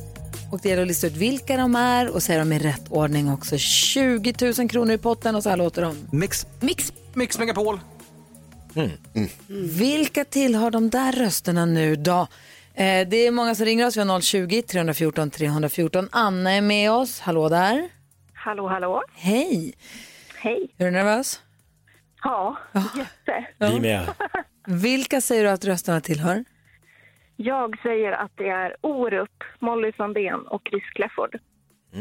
Speaker 1: Och det gäller att lista ut vilka de är och säga dem i rätt ordning också. 20 000 kronor i potten och så här låter de.
Speaker 7: Mix.
Speaker 1: Mix.
Speaker 7: Mix Megapol.
Speaker 1: Vilka tillhör de där rösterna nu då? Eh, det är många som ringer oss. Vi har 020 314 314. Anna är med oss. Hallå där.
Speaker 14: Hallå, hallå.
Speaker 1: Hej.
Speaker 14: Hej.
Speaker 1: Är du nervös?
Speaker 14: Ja, jätte.
Speaker 3: Vi med.
Speaker 1: Vilka säger du att rösterna tillhör?
Speaker 14: Jag säger att det är Orup, Molly Sandén och Chris Clafford.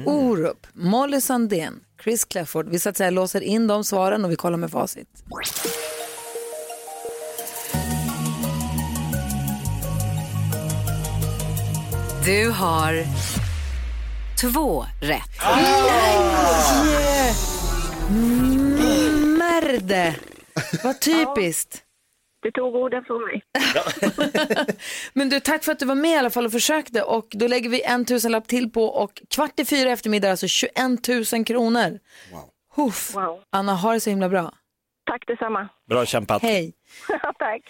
Speaker 1: Orup, Molly Sandén, Chris Clafford. Vi så att säga låser in de svaren och vi kollar med facit.
Speaker 6: Du har två rätt.
Speaker 1: Nej! Merde! Vad typiskt.
Speaker 14: Du tog orden från mig.
Speaker 1: Men du, tack för att du var med i alla fall och försökte. Och då lägger vi en tusenlapp till på och kvart i fyra i eftermiddag, alltså 21 000 kronor. Wow. Huff. Anna, har det så himla bra.
Speaker 14: Tack detsamma.
Speaker 3: Bra kämpat.
Speaker 1: Hej.
Speaker 14: Tack.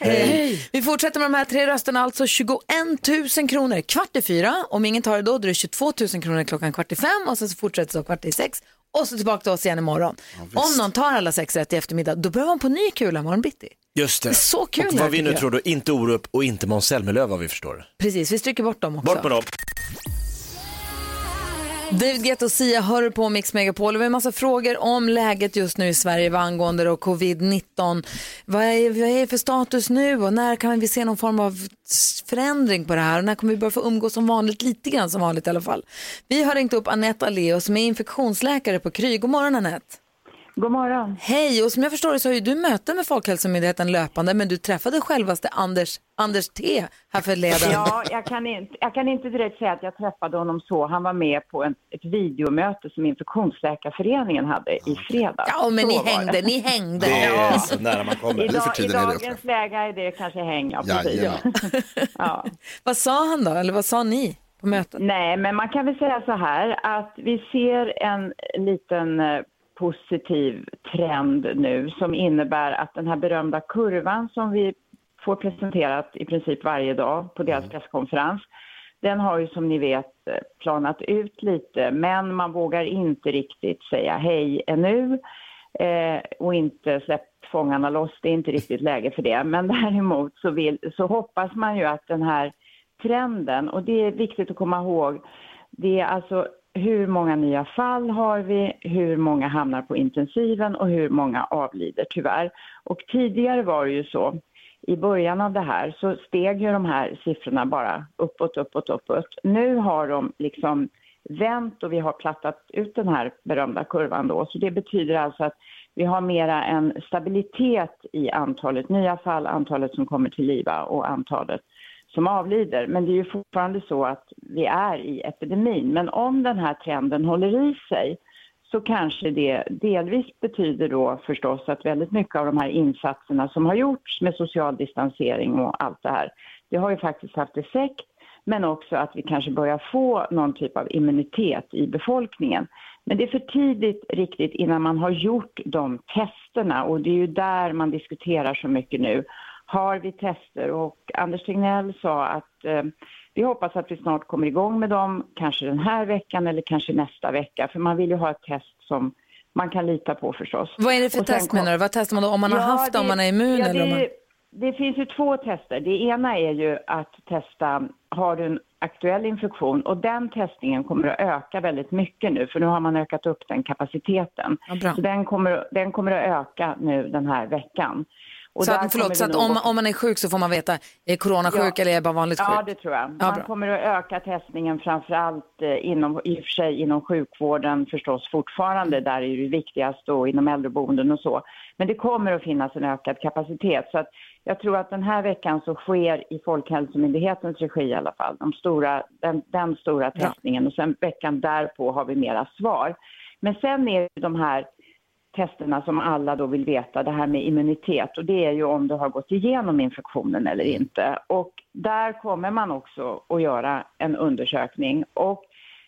Speaker 1: Vi fortsätter med de här tre rösterna, alltså 21 000 kronor kvart i fyra. Om ingen tar det då, då är det 22 000 kronor klockan kvart i fem och sen så fortsätter det så kvart i sex. Och så tillbaka till oss igen imorgon. Om någon tar alla sex rätt i eftermiddag, då behöver man på ny kula imorgon bitti.
Speaker 3: Just det.
Speaker 1: Så kul
Speaker 3: Och
Speaker 1: det här
Speaker 3: vad vi
Speaker 1: tycker
Speaker 3: nu
Speaker 1: jag.
Speaker 3: tror då, inte Orup och inte Måns Zelmerlöw vad vi förstår.
Speaker 1: Precis, vi stryker bort dem också.
Speaker 3: Bort med dem.
Speaker 1: David Guetta och Sia hör du på Mix Megapol. Vi har en massa frågor om läget just nu i Sverige vad angående då covid-19. Vad är, vad är för status nu och när kan vi se någon form av förändring på det här? Och när kommer vi börja få umgås som vanligt, lite grann som vanligt i alla fall? Vi har ringt upp Anette Aleo som är infektionsläkare på Kry. God morgon Anette. God morgon. Hej, och som jag förstår det så har ju du möten med Folkhälsomyndigheten löpande, men du träffade självaste Anders, Anders T här förleden.
Speaker 15: Ja, jag kan, inte, jag kan inte direkt säga att jag träffade honom så. Han var med på en, ett videomöte som Infektionsläkarföreningen hade i fredag.
Speaker 1: Ja, men ni hängde, ni hängde.
Speaker 15: Det är
Speaker 1: Ja.
Speaker 15: så
Speaker 3: nära man
Speaker 15: I, dag, I dagens läge är det kanske häng, ja, precis.
Speaker 1: Jajamän.
Speaker 15: ja.
Speaker 1: Vad sa han då, eller vad sa ni på mötet?
Speaker 15: Nej, men man kan väl säga så här att vi ser en liten eh, positiv trend nu som innebär att den här berömda kurvan som vi får presenterat i princip varje dag på deras presskonferens, den har ju som ni vet eh, planat ut lite, men man vågar inte riktigt säga hej ännu eh, och inte släppt fångarna loss. Det är inte riktigt läge för det. Men däremot så, vill, så hoppas man ju att den här trenden, och det är viktigt att komma ihåg, det är alltså hur många nya fall har vi, hur många hamnar på intensiven och hur många avlider tyvärr. Och tidigare var det ju så, i början av det här så steg ju de här siffrorna bara uppåt, uppåt, uppåt. Nu har de liksom vänt och vi har plattat ut den här berömda kurvan då. Så det betyder alltså att vi har mera en stabilitet i antalet nya fall, antalet som kommer till liva och antalet som avlider. Men det är ju fortfarande så att vi är i epidemin. Men om den här trenden håller i sig så kanske det delvis betyder då förstås att väldigt mycket av de här insatserna som har gjorts med social distansering och allt det här, det har ju faktiskt haft effekt, men också att vi kanske börjar få någon typ av immunitet i befolkningen. Men det är för tidigt riktigt innan man har gjort de testerna och det är ju där man diskuterar så mycket nu. Har vi tester? Och Anders Tegnell sa att eh, vi hoppas att vi snart kommer igång med dem, kanske den här veckan eller kanske nästa vecka, för man vill ju ha ett test som man kan lita på förstås.
Speaker 1: Vad är det för
Speaker 15: Och sen
Speaker 1: test
Speaker 15: kom-
Speaker 1: menar du? Vad testar man då? Om man har
Speaker 15: Ja,
Speaker 1: haft det, om man är immun
Speaker 15: ja,
Speaker 1: eller om man...
Speaker 15: det, det finns ju två tester. Det ena är ju att testa, har du en aktuell infektion? Och den testningen kommer att öka väldigt mycket nu, för nu har man ökat upp den kapaciteten.
Speaker 1: bra.
Speaker 15: så den kommer, den kommer att öka nu den här veckan. Och
Speaker 1: Så
Speaker 15: där
Speaker 1: att,
Speaker 15: kommer
Speaker 1: förlåt, så
Speaker 15: vi
Speaker 1: att
Speaker 15: nog
Speaker 1: om,
Speaker 15: att-
Speaker 1: om man är sjuk så får man veta, är coronasjuk eller är jag bara vanligt sjuk?
Speaker 15: Ja, det tror jag.
Speaker 1: Ja,
Speaker 15: Man
Speaker 1: bra.
Speaker 15: kommer att öka testningen framför allt eh, inom, i och för sig inom sjukvården förstås fortfarande, där är det viktigast och inom äldreboenden och så. Men det kommer att finnas en ökad kapacitet. Så att jag tror att den här veckan så sker i Folkhälsomyndighetens regi i alla fall, de stora, den, den stora testningen och sen veckan därpå har vi mera svar. Men sen är det de här testerna som alla då vill veta, det här med immunitet. Och det är ju om du har gått igenom infektionen eller inte. Och där kommer man också att göra en undersökning. Och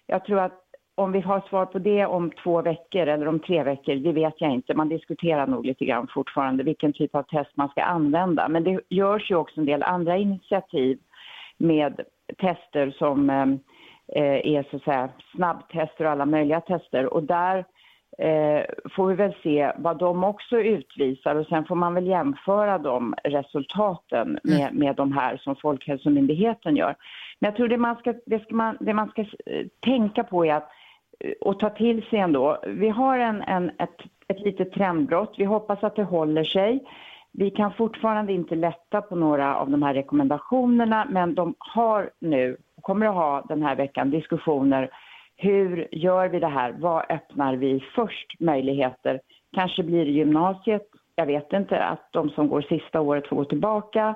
Speaker 15: jag tror att om vi har svar på det om två veckor eller om tre veckor, det vet jag inte. Man diskuterar nog lite grann fortfarande vilken typ av test man ska använda. Men det görs ju också en del andra initiativ med tester som eh, eh, är så att säga snabbtester och alla möjliga tester. Och där eh, får vi väl se vad de också utvisar och sen får man väl jämföra de resultaten med, med de här som Folkhälsomyndigheten gör. Men jag tror det man ska, det ska, man, det man ska eh, tänka på är att eh, och ta till sig ändå. Vi har en, en, ett, ett litet trendbrott. Vi hoppas att det håller sig. Vi kan fortfarande inte lätta på några av de här rekommendationerna, men de har nu, och kommer att ha den här veckan, diskussioner. Hur gör vi det här? Vad öppnar vi först möjligheter? Kanske blir det gymnasiet. Jag vet inte att de som går sista året får gå tillbaka.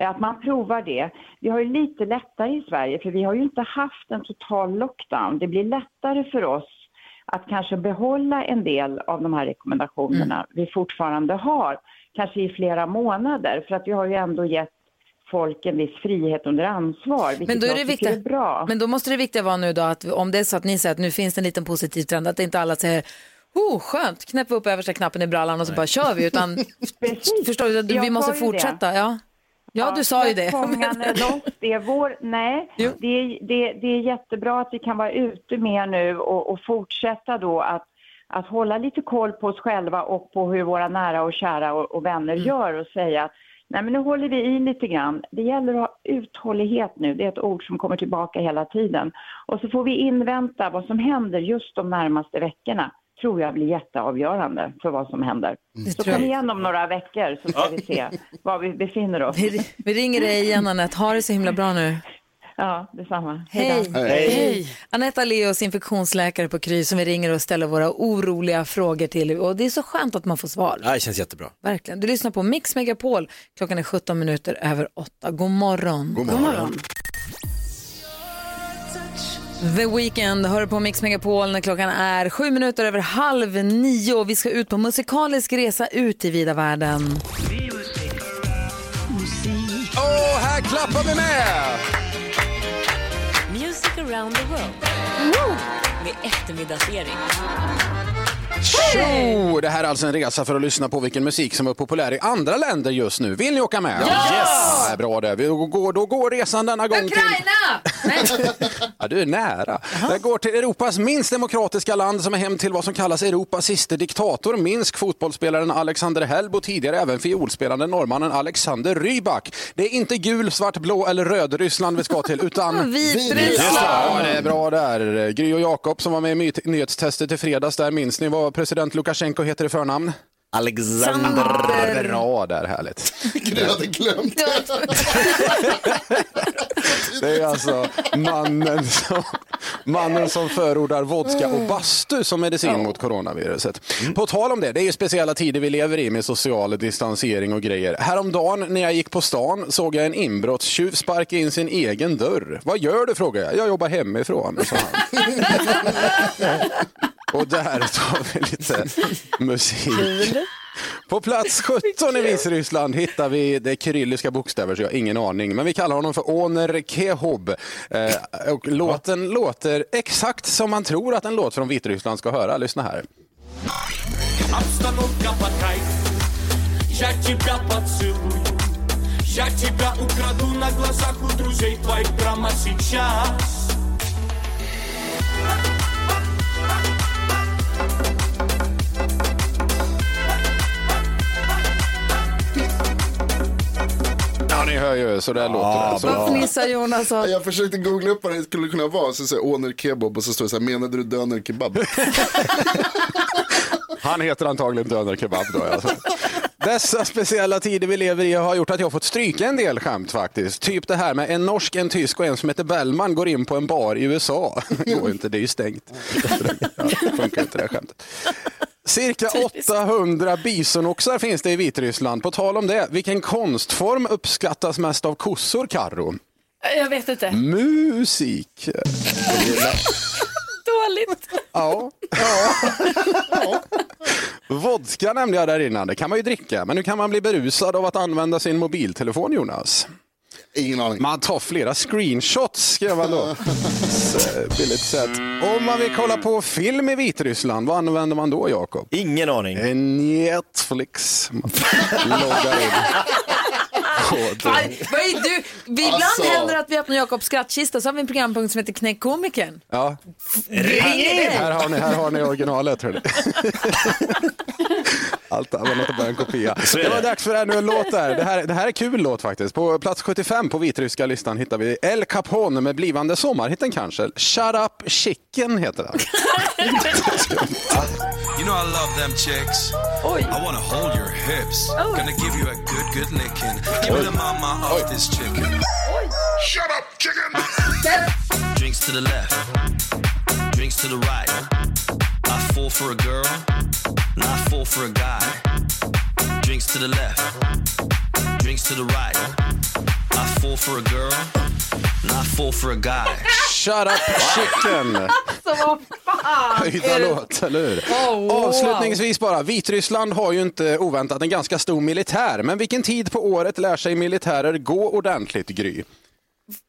Speaker 15: Att man provar det. Vi har ju lite lättare i Sverige, för vi har ju inte haft en total lockdown. Det blir lättare för oss att kanske behålla en del av de här rekommendationerna
Speaker 1: Mm.
Speaker 15: vi fortfarande har, kanske i flera månader, för att vi har ju ändå gett folk en viss frihet under ansvar, vilket
Speaker 1: Men då, är
Speaker 15: jag
Speaker 1: det
Speaker 15: tycker
Speaker 1: viktiga,
Speaker 15: är bra.
Speaker 1: men då måste det viktiga vara nu då att om det är så att ni säger att nu finns det en liten positiv trend, att inte alla säger oh, skönt, knäpp upp översta knappen i brallan och så bara kör vi, utan förstår du, att
Speaker 15: Jag
Speaker 1: vi måste
Speaker 15: sa ju det.
Speaker 1: fortsätta. Ja. ja, du sa ju det.
Speaker 15: Fångarna loss, det är vår... Nej, det är, det, det är jättebra att vi kan vara ute mer nu och, och fortsätta då att, att hålla lite koll på oss själva och på hur våra nära och kära och, och vänner
Speaker 1: Mm.
Speaker 15: gör och säga att Nej, men nu håller vi i lite grann. Det gäller att ha uthållighet nu. Det är ett ord som kommer tillbaka hela tiden. Och så får vi invänta vad som händer just de närmaste veckorna. tror jag blir jätteavgörande för vad som händer. Så
Speaker 1: Mm. tror jag.
Speaker 15: kom igen om några veckor så ska
Speaker 1: Ja.
Speaker 15: vi se var vi befinner oss.
Speaker 1: Vi ringer dig igen Anette, ha det så himla bra nu.
Speaker 15: Ja, detsamma.
Speaker 1: Hej.
Speaker 15: då.
Speaker 1: Anette Aleos, infektionsläkare på Kry, som vi ringer och ställer våra oroliga frågor till. Och det är så skönt att man får svar.
Speaker 11: Ja, det känns jättebra.
Speaker 1: Verkligen. Du lyssnar på Mix Megapol. Klockan är 17 minuter över 8. God morgon.
Speaker 11: God morgon. God morgon.
Speaker 1: The Weeknd hör på Mix Megapol när klockan är sju minuter över halv nio och vi ska ut på musikalisk resa ut i vida världen.
Speaker 9: Och här klappar vi med!
Speaker 16: Music around the world. Med eftermiddagsering.
Speaker 17: Tjo! Det här är alltså en resa för att lyssna på vilken musik som är populär i andra länder just nu. Vill ni åka med?
Speaker 9: Ja! Yes!
Speaker 17: Ja, bra det. Vi går, då går resan denna gång till... Ja, du är nära. Den går till Europas minst demokratiska land som är hem till vad som kallas Europas sista diktator, Minsk, fotbollsspelaren Alexander Helb och tidigare även fiolspelaren norrmannen Alexander Rybak. Det är inte gul, svart, blå eller röd Ryssland vi ska till utan
Speaker 9: Vitryssland!
Speaker 17: Ja, det är bra där. Gry och Jakob som var med i my- nyhetstestet i fredags, där minns ni vad president Lukasjenko heter i förnamn?
Speaker 9: Alexander.
Speaker 17: Bra där, härligt.
Speaker 5: Gry hade glömt
Speaker 17: Det är alltså mannen som, mannen som förordar vodka och bastu som medicin mot coronaviruset. På tal om det, det är ju speciella tider vi lever i med social distansering och grejer. Häromdagen när jag gick på stan såg jag en inbrottstjuv sparka in sin egen dörr. Vad gör du? frågade jag. Jag jobbar hemifrån, sa han. Och där tar vi lite musik. På plats 17 i Vitryssland hittar vi det kyrilliska bokstäver så jag har ingen aning. Men vi kallar honom för Oner Kehob. Eh, och låten låter exakt som man tror att en låt från Vitryssland ska höra. Lyssna här.
Speaker 9: Обстановка под кайф. Я тебя поцелую. Я тебя украду на глазах у друзей твоих прямо сейчас.
Speaker 17: Ja, ni hör ju. Så där låter det. Så-
Speaker 1: Jonas?
Speaker 5: Jag försökte googla upp vad det skulle kunna vara. Så säger jag, åner kebab och så står det så här, menade du döner kebab?
Speaker 17: Han heter antagligen Döner Kebab då. Alltså. Dessa speciella tider vi lever i har gjort att jag fått stryka en del skämt faktiskt. Typ det här med en norsk, en tysk och en som heter Bellman går in på en bar i USA. Går inte, det är ju stängt. Ja, funkar inte det här skämtet. Cirka 800 bisonoxar finns det i Vitryssland. På tal om det, vilken konstform uppskattas mest av kossor, Karro?
Speaker 4: Jag vet inte.
Speaker 17: Musik.
Speaker 4: Dåligt.
Speaker 17: Ja. Vodka nämnde jag där innan, det kan man ju dricka, men nu kan man bli berusad av att använda sin mobiltelefon Jonas.
Speaker 5: Ingen aning.
Speaker 17: Man tar flera screenshots skrev man då. Så, Billigt sett. Om man vill kolla på film i Vitryssland, vad använder man då Jakob?
Speaker 3: Ingen aning.
Speaker 17: Netflix. Man loggar in. på
Speaker 1: Vad
Speaker 17: det.
Speaker 1: vad är du? Vi ibland
Speaker 17: Alltså.
Speaker 1: händer att vi öppnar Jakobs skrattkista så har vi en programpunkt som heter Knäck komikern.
Speaker 17: Ja. Här, här, har ni, här har ni originalet. Hörni. Allt annat är bara en kopia. Det var dags för ännu en låt där. Det här, det här är kul låt faktiskt. På plats 75 på vitryska listan hittar vi El Capone med blivande sommarhitten kanske. Shut up chicken heter den.
Speaker 9: You know I love them chicks. I wanna hold your hips. Gonna give you a good, good licking. Give me the mama off this chicken. Shut up, chicken! Drinks to the left. Drinks to the right. I fall for a girl. Not fall for a guy. Drinks to the left. Drinks to the right. I fall for a girl. Not fall for a guy.
Speaker 17: Shut up chicken.
Speaker 1: Alltså vad fan
Speaker 17: Höjda låt, eller hur?
Speaker 1: Oh, wow.
Speaker 17: Avslutningsvis bara, Vitryssland har ju inte oväntat en ganska stor militär. Men vilken tid på året lär sig militärer gå ordentligt, Gry?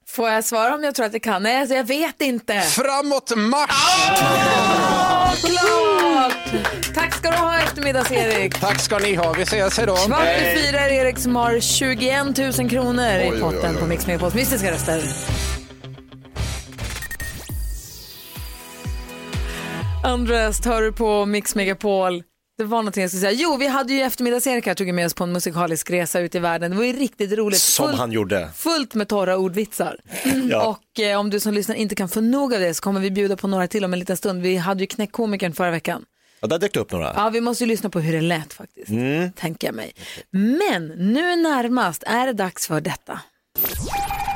Speaker 1: Får jag svara om jag tror att det kan? Nej, alltså, jag vet inte.
Speaker 17: Framåt marsch!
Speaker 1: Åh, klart! Tack ska du ha eftermiddags-Erik.
Speaker 17: Tack ska ni ha, vi ses idag.
Speaker 1: Kvart i fyra är Erik som har 21 000 kronor
Speaker 17: Oj, oj,
Speaker 1: i
Speaker 17: oj,
Speaker 1: potten
Speaker 17: oj.
Speaker 1: på Mix Megapols mystiska röster. Andres, hör du på Mix Megapol? Det var någonting jag skulle säga. Jo, vi hade ju eftermiddags-Erik här tog med oss på en musikalisk resa ut i världen. Det var ju riktigt roligt.
Speaker 3: Som
Speaker 1: Fullt-
Speaker 3: han gjorde.
Speaker 1: fullt med torra ordvitsar.
Speaker 3: Ja.
Speaker 1: Och eh, om du som lyssnar inte kan få nog av det så kommer vi bjuda på några till om en liten stund. Vi hade ju knäckkomikern förra veckan.
Speaker 3: Ja, där dök det upp några.
Speaker 1: Ja, vi måste ju lyssna på hur det lät faktiskt,
Speaker 3: Mm.
Speaker 1: tänker jag mig. Men nu närmast är det dags för detta.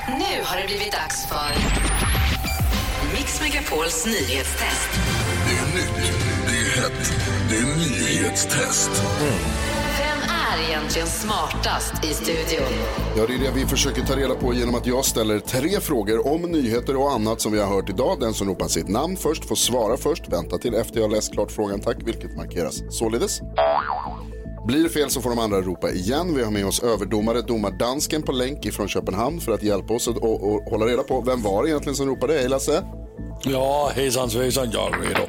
Speaker 6: Nu Nu har det blivit dags för Mix Megapols nyhetstest.
Speaker 9: Det är nytt, det är hett, det är nyhetstest.
Speaker 6: Vem är egentligen smartast i studion?
Speaker 5: Ja, det är det vi försöker ta reda på genom att jag ställer tre frågor om nyheter och annat som vi har hört idag. Den som ropar sitt namn först får svara först. Vänta till efter jag läst klart frågan, tack, vilket markeras således. Blir det fel så får de andra ropa igen. Vi har med oss överdomare, domardansken på länk ifrån Köpenhamn för att hjälpa oss att och, och hålla reda på vem var det egentligen som ropade. Hej Lasse!
Speaker 13: Ja, hejsan svejsan, jag är redo.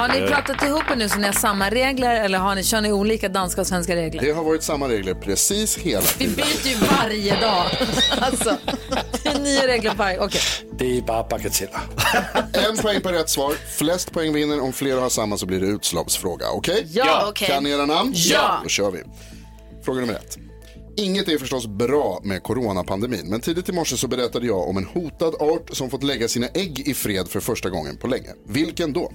Speaker 1: Har ni pratat ihop er nu så ni har samma regler eller har ni, kör ni olika danska och svenska regler?
Speaker 5: Det har varit samma regler precis hela
Speaker 1: Vi
Speaker 5: tiden.
Speaker 1: byter ju varje dag. Alltså, det är nya regler på varje... Okej.
Speaker 5: Det är bara bagateller. en poäng per rätt svar. Flest poäng vinner. Om flera har samma så blir det utslagsfråga. Okej?
Speaker 9: Ja, Ja. okej.
Speaker 5: Kan ni era namn?
Speaker 9: Ja.
Speaker 5: Då kör vi. Fråga nummer ett. Inget är förstås bra med coronapandemin, men tidigt i morse så berättade jag om en hotad art som fått lägga sina ägg i fred för första gången på länge. Vilken då?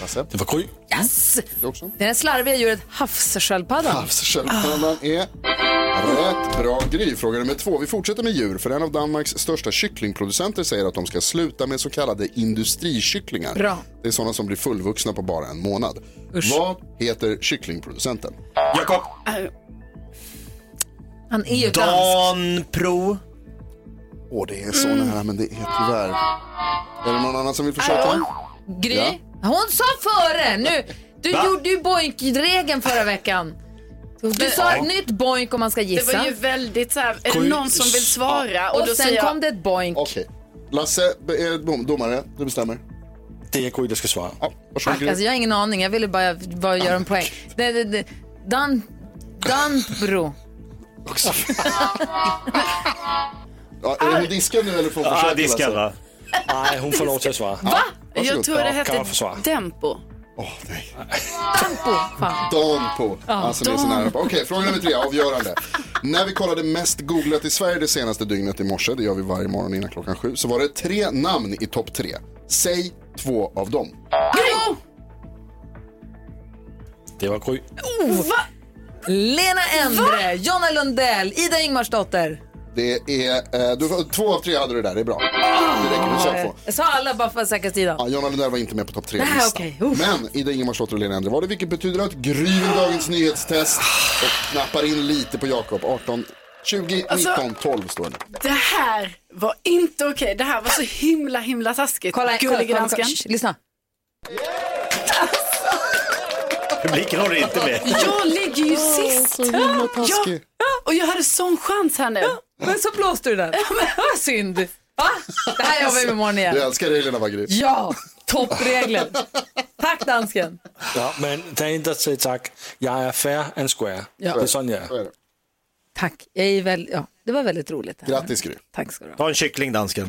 Speaker 5: Lasse?
Speaker 13: Det var Gry.
Speaker 1: Yes!
Speaker 5: Det också.
Speaker 1: Det här slarviga djuret havssköldpaddan.
Speaker 5: Havssköldpaddan är rätt bra Gry. Fråga nummer två. Vi fortsätter med djur, för en av Danmarks största kycklingproducenter säger att de ska sluta med så kallade industrikycklingar.
Speaker 9: Bra.
Speaker 5: Det är sådana som blir fullvuxna på bara en månad. Vad heter kycklingproducenten?
Speaker 3: Jakob.
Speaker 4: Äh,
Speaker 1: Han är ju dansk.
Speaker 3: Danpro.
Speaker 5: Åh, det är så nära, men det är tyvärr... Är det någon annan som vill försöka?
Speaker 1: Hallå? Gry?
Speaker 5: Ja.
Speaker 1: Hon sa före! Nu, du
Speaker 5: Va?
Speaker 1: gjorde ju boink-regeln förra veckan. Du sa
Speaker 4: Ja.
Speaker 1: ett nytt boink om man ska
Speaker 4: Det
Speaker 1: gissa.
Speaker 4: var ju väldigt så här, är det
Speaker 5: Sju-
Speaker 4: någon som vill svara? Och,
Speaker 1: Och
Speaker 4: då
Speaker 1: sen
Speaker 4: säger jag,
Speaker 1: kom det ett boink.
Speaker 5: Okej. Lasse, be- eh, dom- domare, du bestämmer.
Speaker 13: Det är Gry som ska svara.
Speaker 5: Ja, varsågod Gry.
Speaker 1: Alltså, jag har ingen aning, jag ville bara, bara göra en poäng. Det, det, det. Dan, Danbro.
Speaker 5: Ja, är du diskad nu eller får hon
Speaker 13: Ja,
Speaker 5: försöka?
Speaker 13: diskad,
Speaker 5: Lasse?
Speaker 13: va? Nej, hon får lov till att svara.
Speaker 4: Va?
Speaker 5: varsågod.
Speaker 4: jag tror det
Speaker 5: Ja, kan
Speaker 4: hette
Speaker 5: jag få svara?
Speaker 4: Dempo. Åh
Speaker 1: nej. Dempo, fan.
Speaker 5: Dan på.
Speaker 4: Ja,
Speaker 5: alltså det är så
Speaker 4: Dan.
Speaker 5: nära på. Okej, fråga nummer tre, avgörande. När vi kollade mest googlat i Sverige det senaste dygnet i morse, det gör vi varje morgon innan klockan sju, så var det tre namn i topp tre. Säg två av dem.
Speaker 13: Det var Gry.
Speaker 1: Oh, Lena Endre, Jonna Lundell, Ida Ingmarsdotter.
Speaker 5: Det är, eh, du, två av tre hade du där, det är bra. Det räcker, du sa två.
Speaker 1: Jag sa Eh, alla bara för säkerhets sida.
Speaker 5: Ja, Jonna Lundell var inte med på topp tre
Speaker 1: Nej,
Speaker 5: listan.
Speaker 1: okej.
Speaker 5: Men Ida Ingemarsdotter och Lena Endre var det, vilket betyder att Gry vinner dagens nyhetstest och knappar in lite på Jakob. 18, 20,
Speaker 4: Alltså-
Speaker 5: 19, 12 står det nu.
Speaker 4: Det här var inte okej. Det här var så himla, himla taskigt.
Speaker 1: Kolla, kolla,
Speaker 4: Gullige
Speaker 1: kolla,
Speaker 4: dansken.
Speaker 1: kolla. Shh, lyssna.
Speaker 3: Publiken håller inte med.
Speaker 4: Jag ligger ju
Speaker 9: Åh,
Speaker 4: sist.
Speaker 9: så himla
Speaker 4: ja,
Speaker 9: taskig.
Speaker 4: och jag hade sån chans här nu.
Speaker 1: Men så blåste du den. Vad synd. Va? Det här jobbar vi med imorgon igen.
Speaker 5: Du älskar reglerna va Gry?
Speaker 1: Ja, toppregler. Tack dansken.
Speaker 13: Ja, men det är inte att säga tack. Jag är fair and square.
Speaker 1: Ja.
Speaker 13: Det är sån jag är.
Speaker 1: Tack. Jag är väl, ja, det var väldigt roligt.
Speaker 5: Grattis Gry.
Speaker 1: Tack ska du ha.
Speaker 3: Ta en kyckling dansken.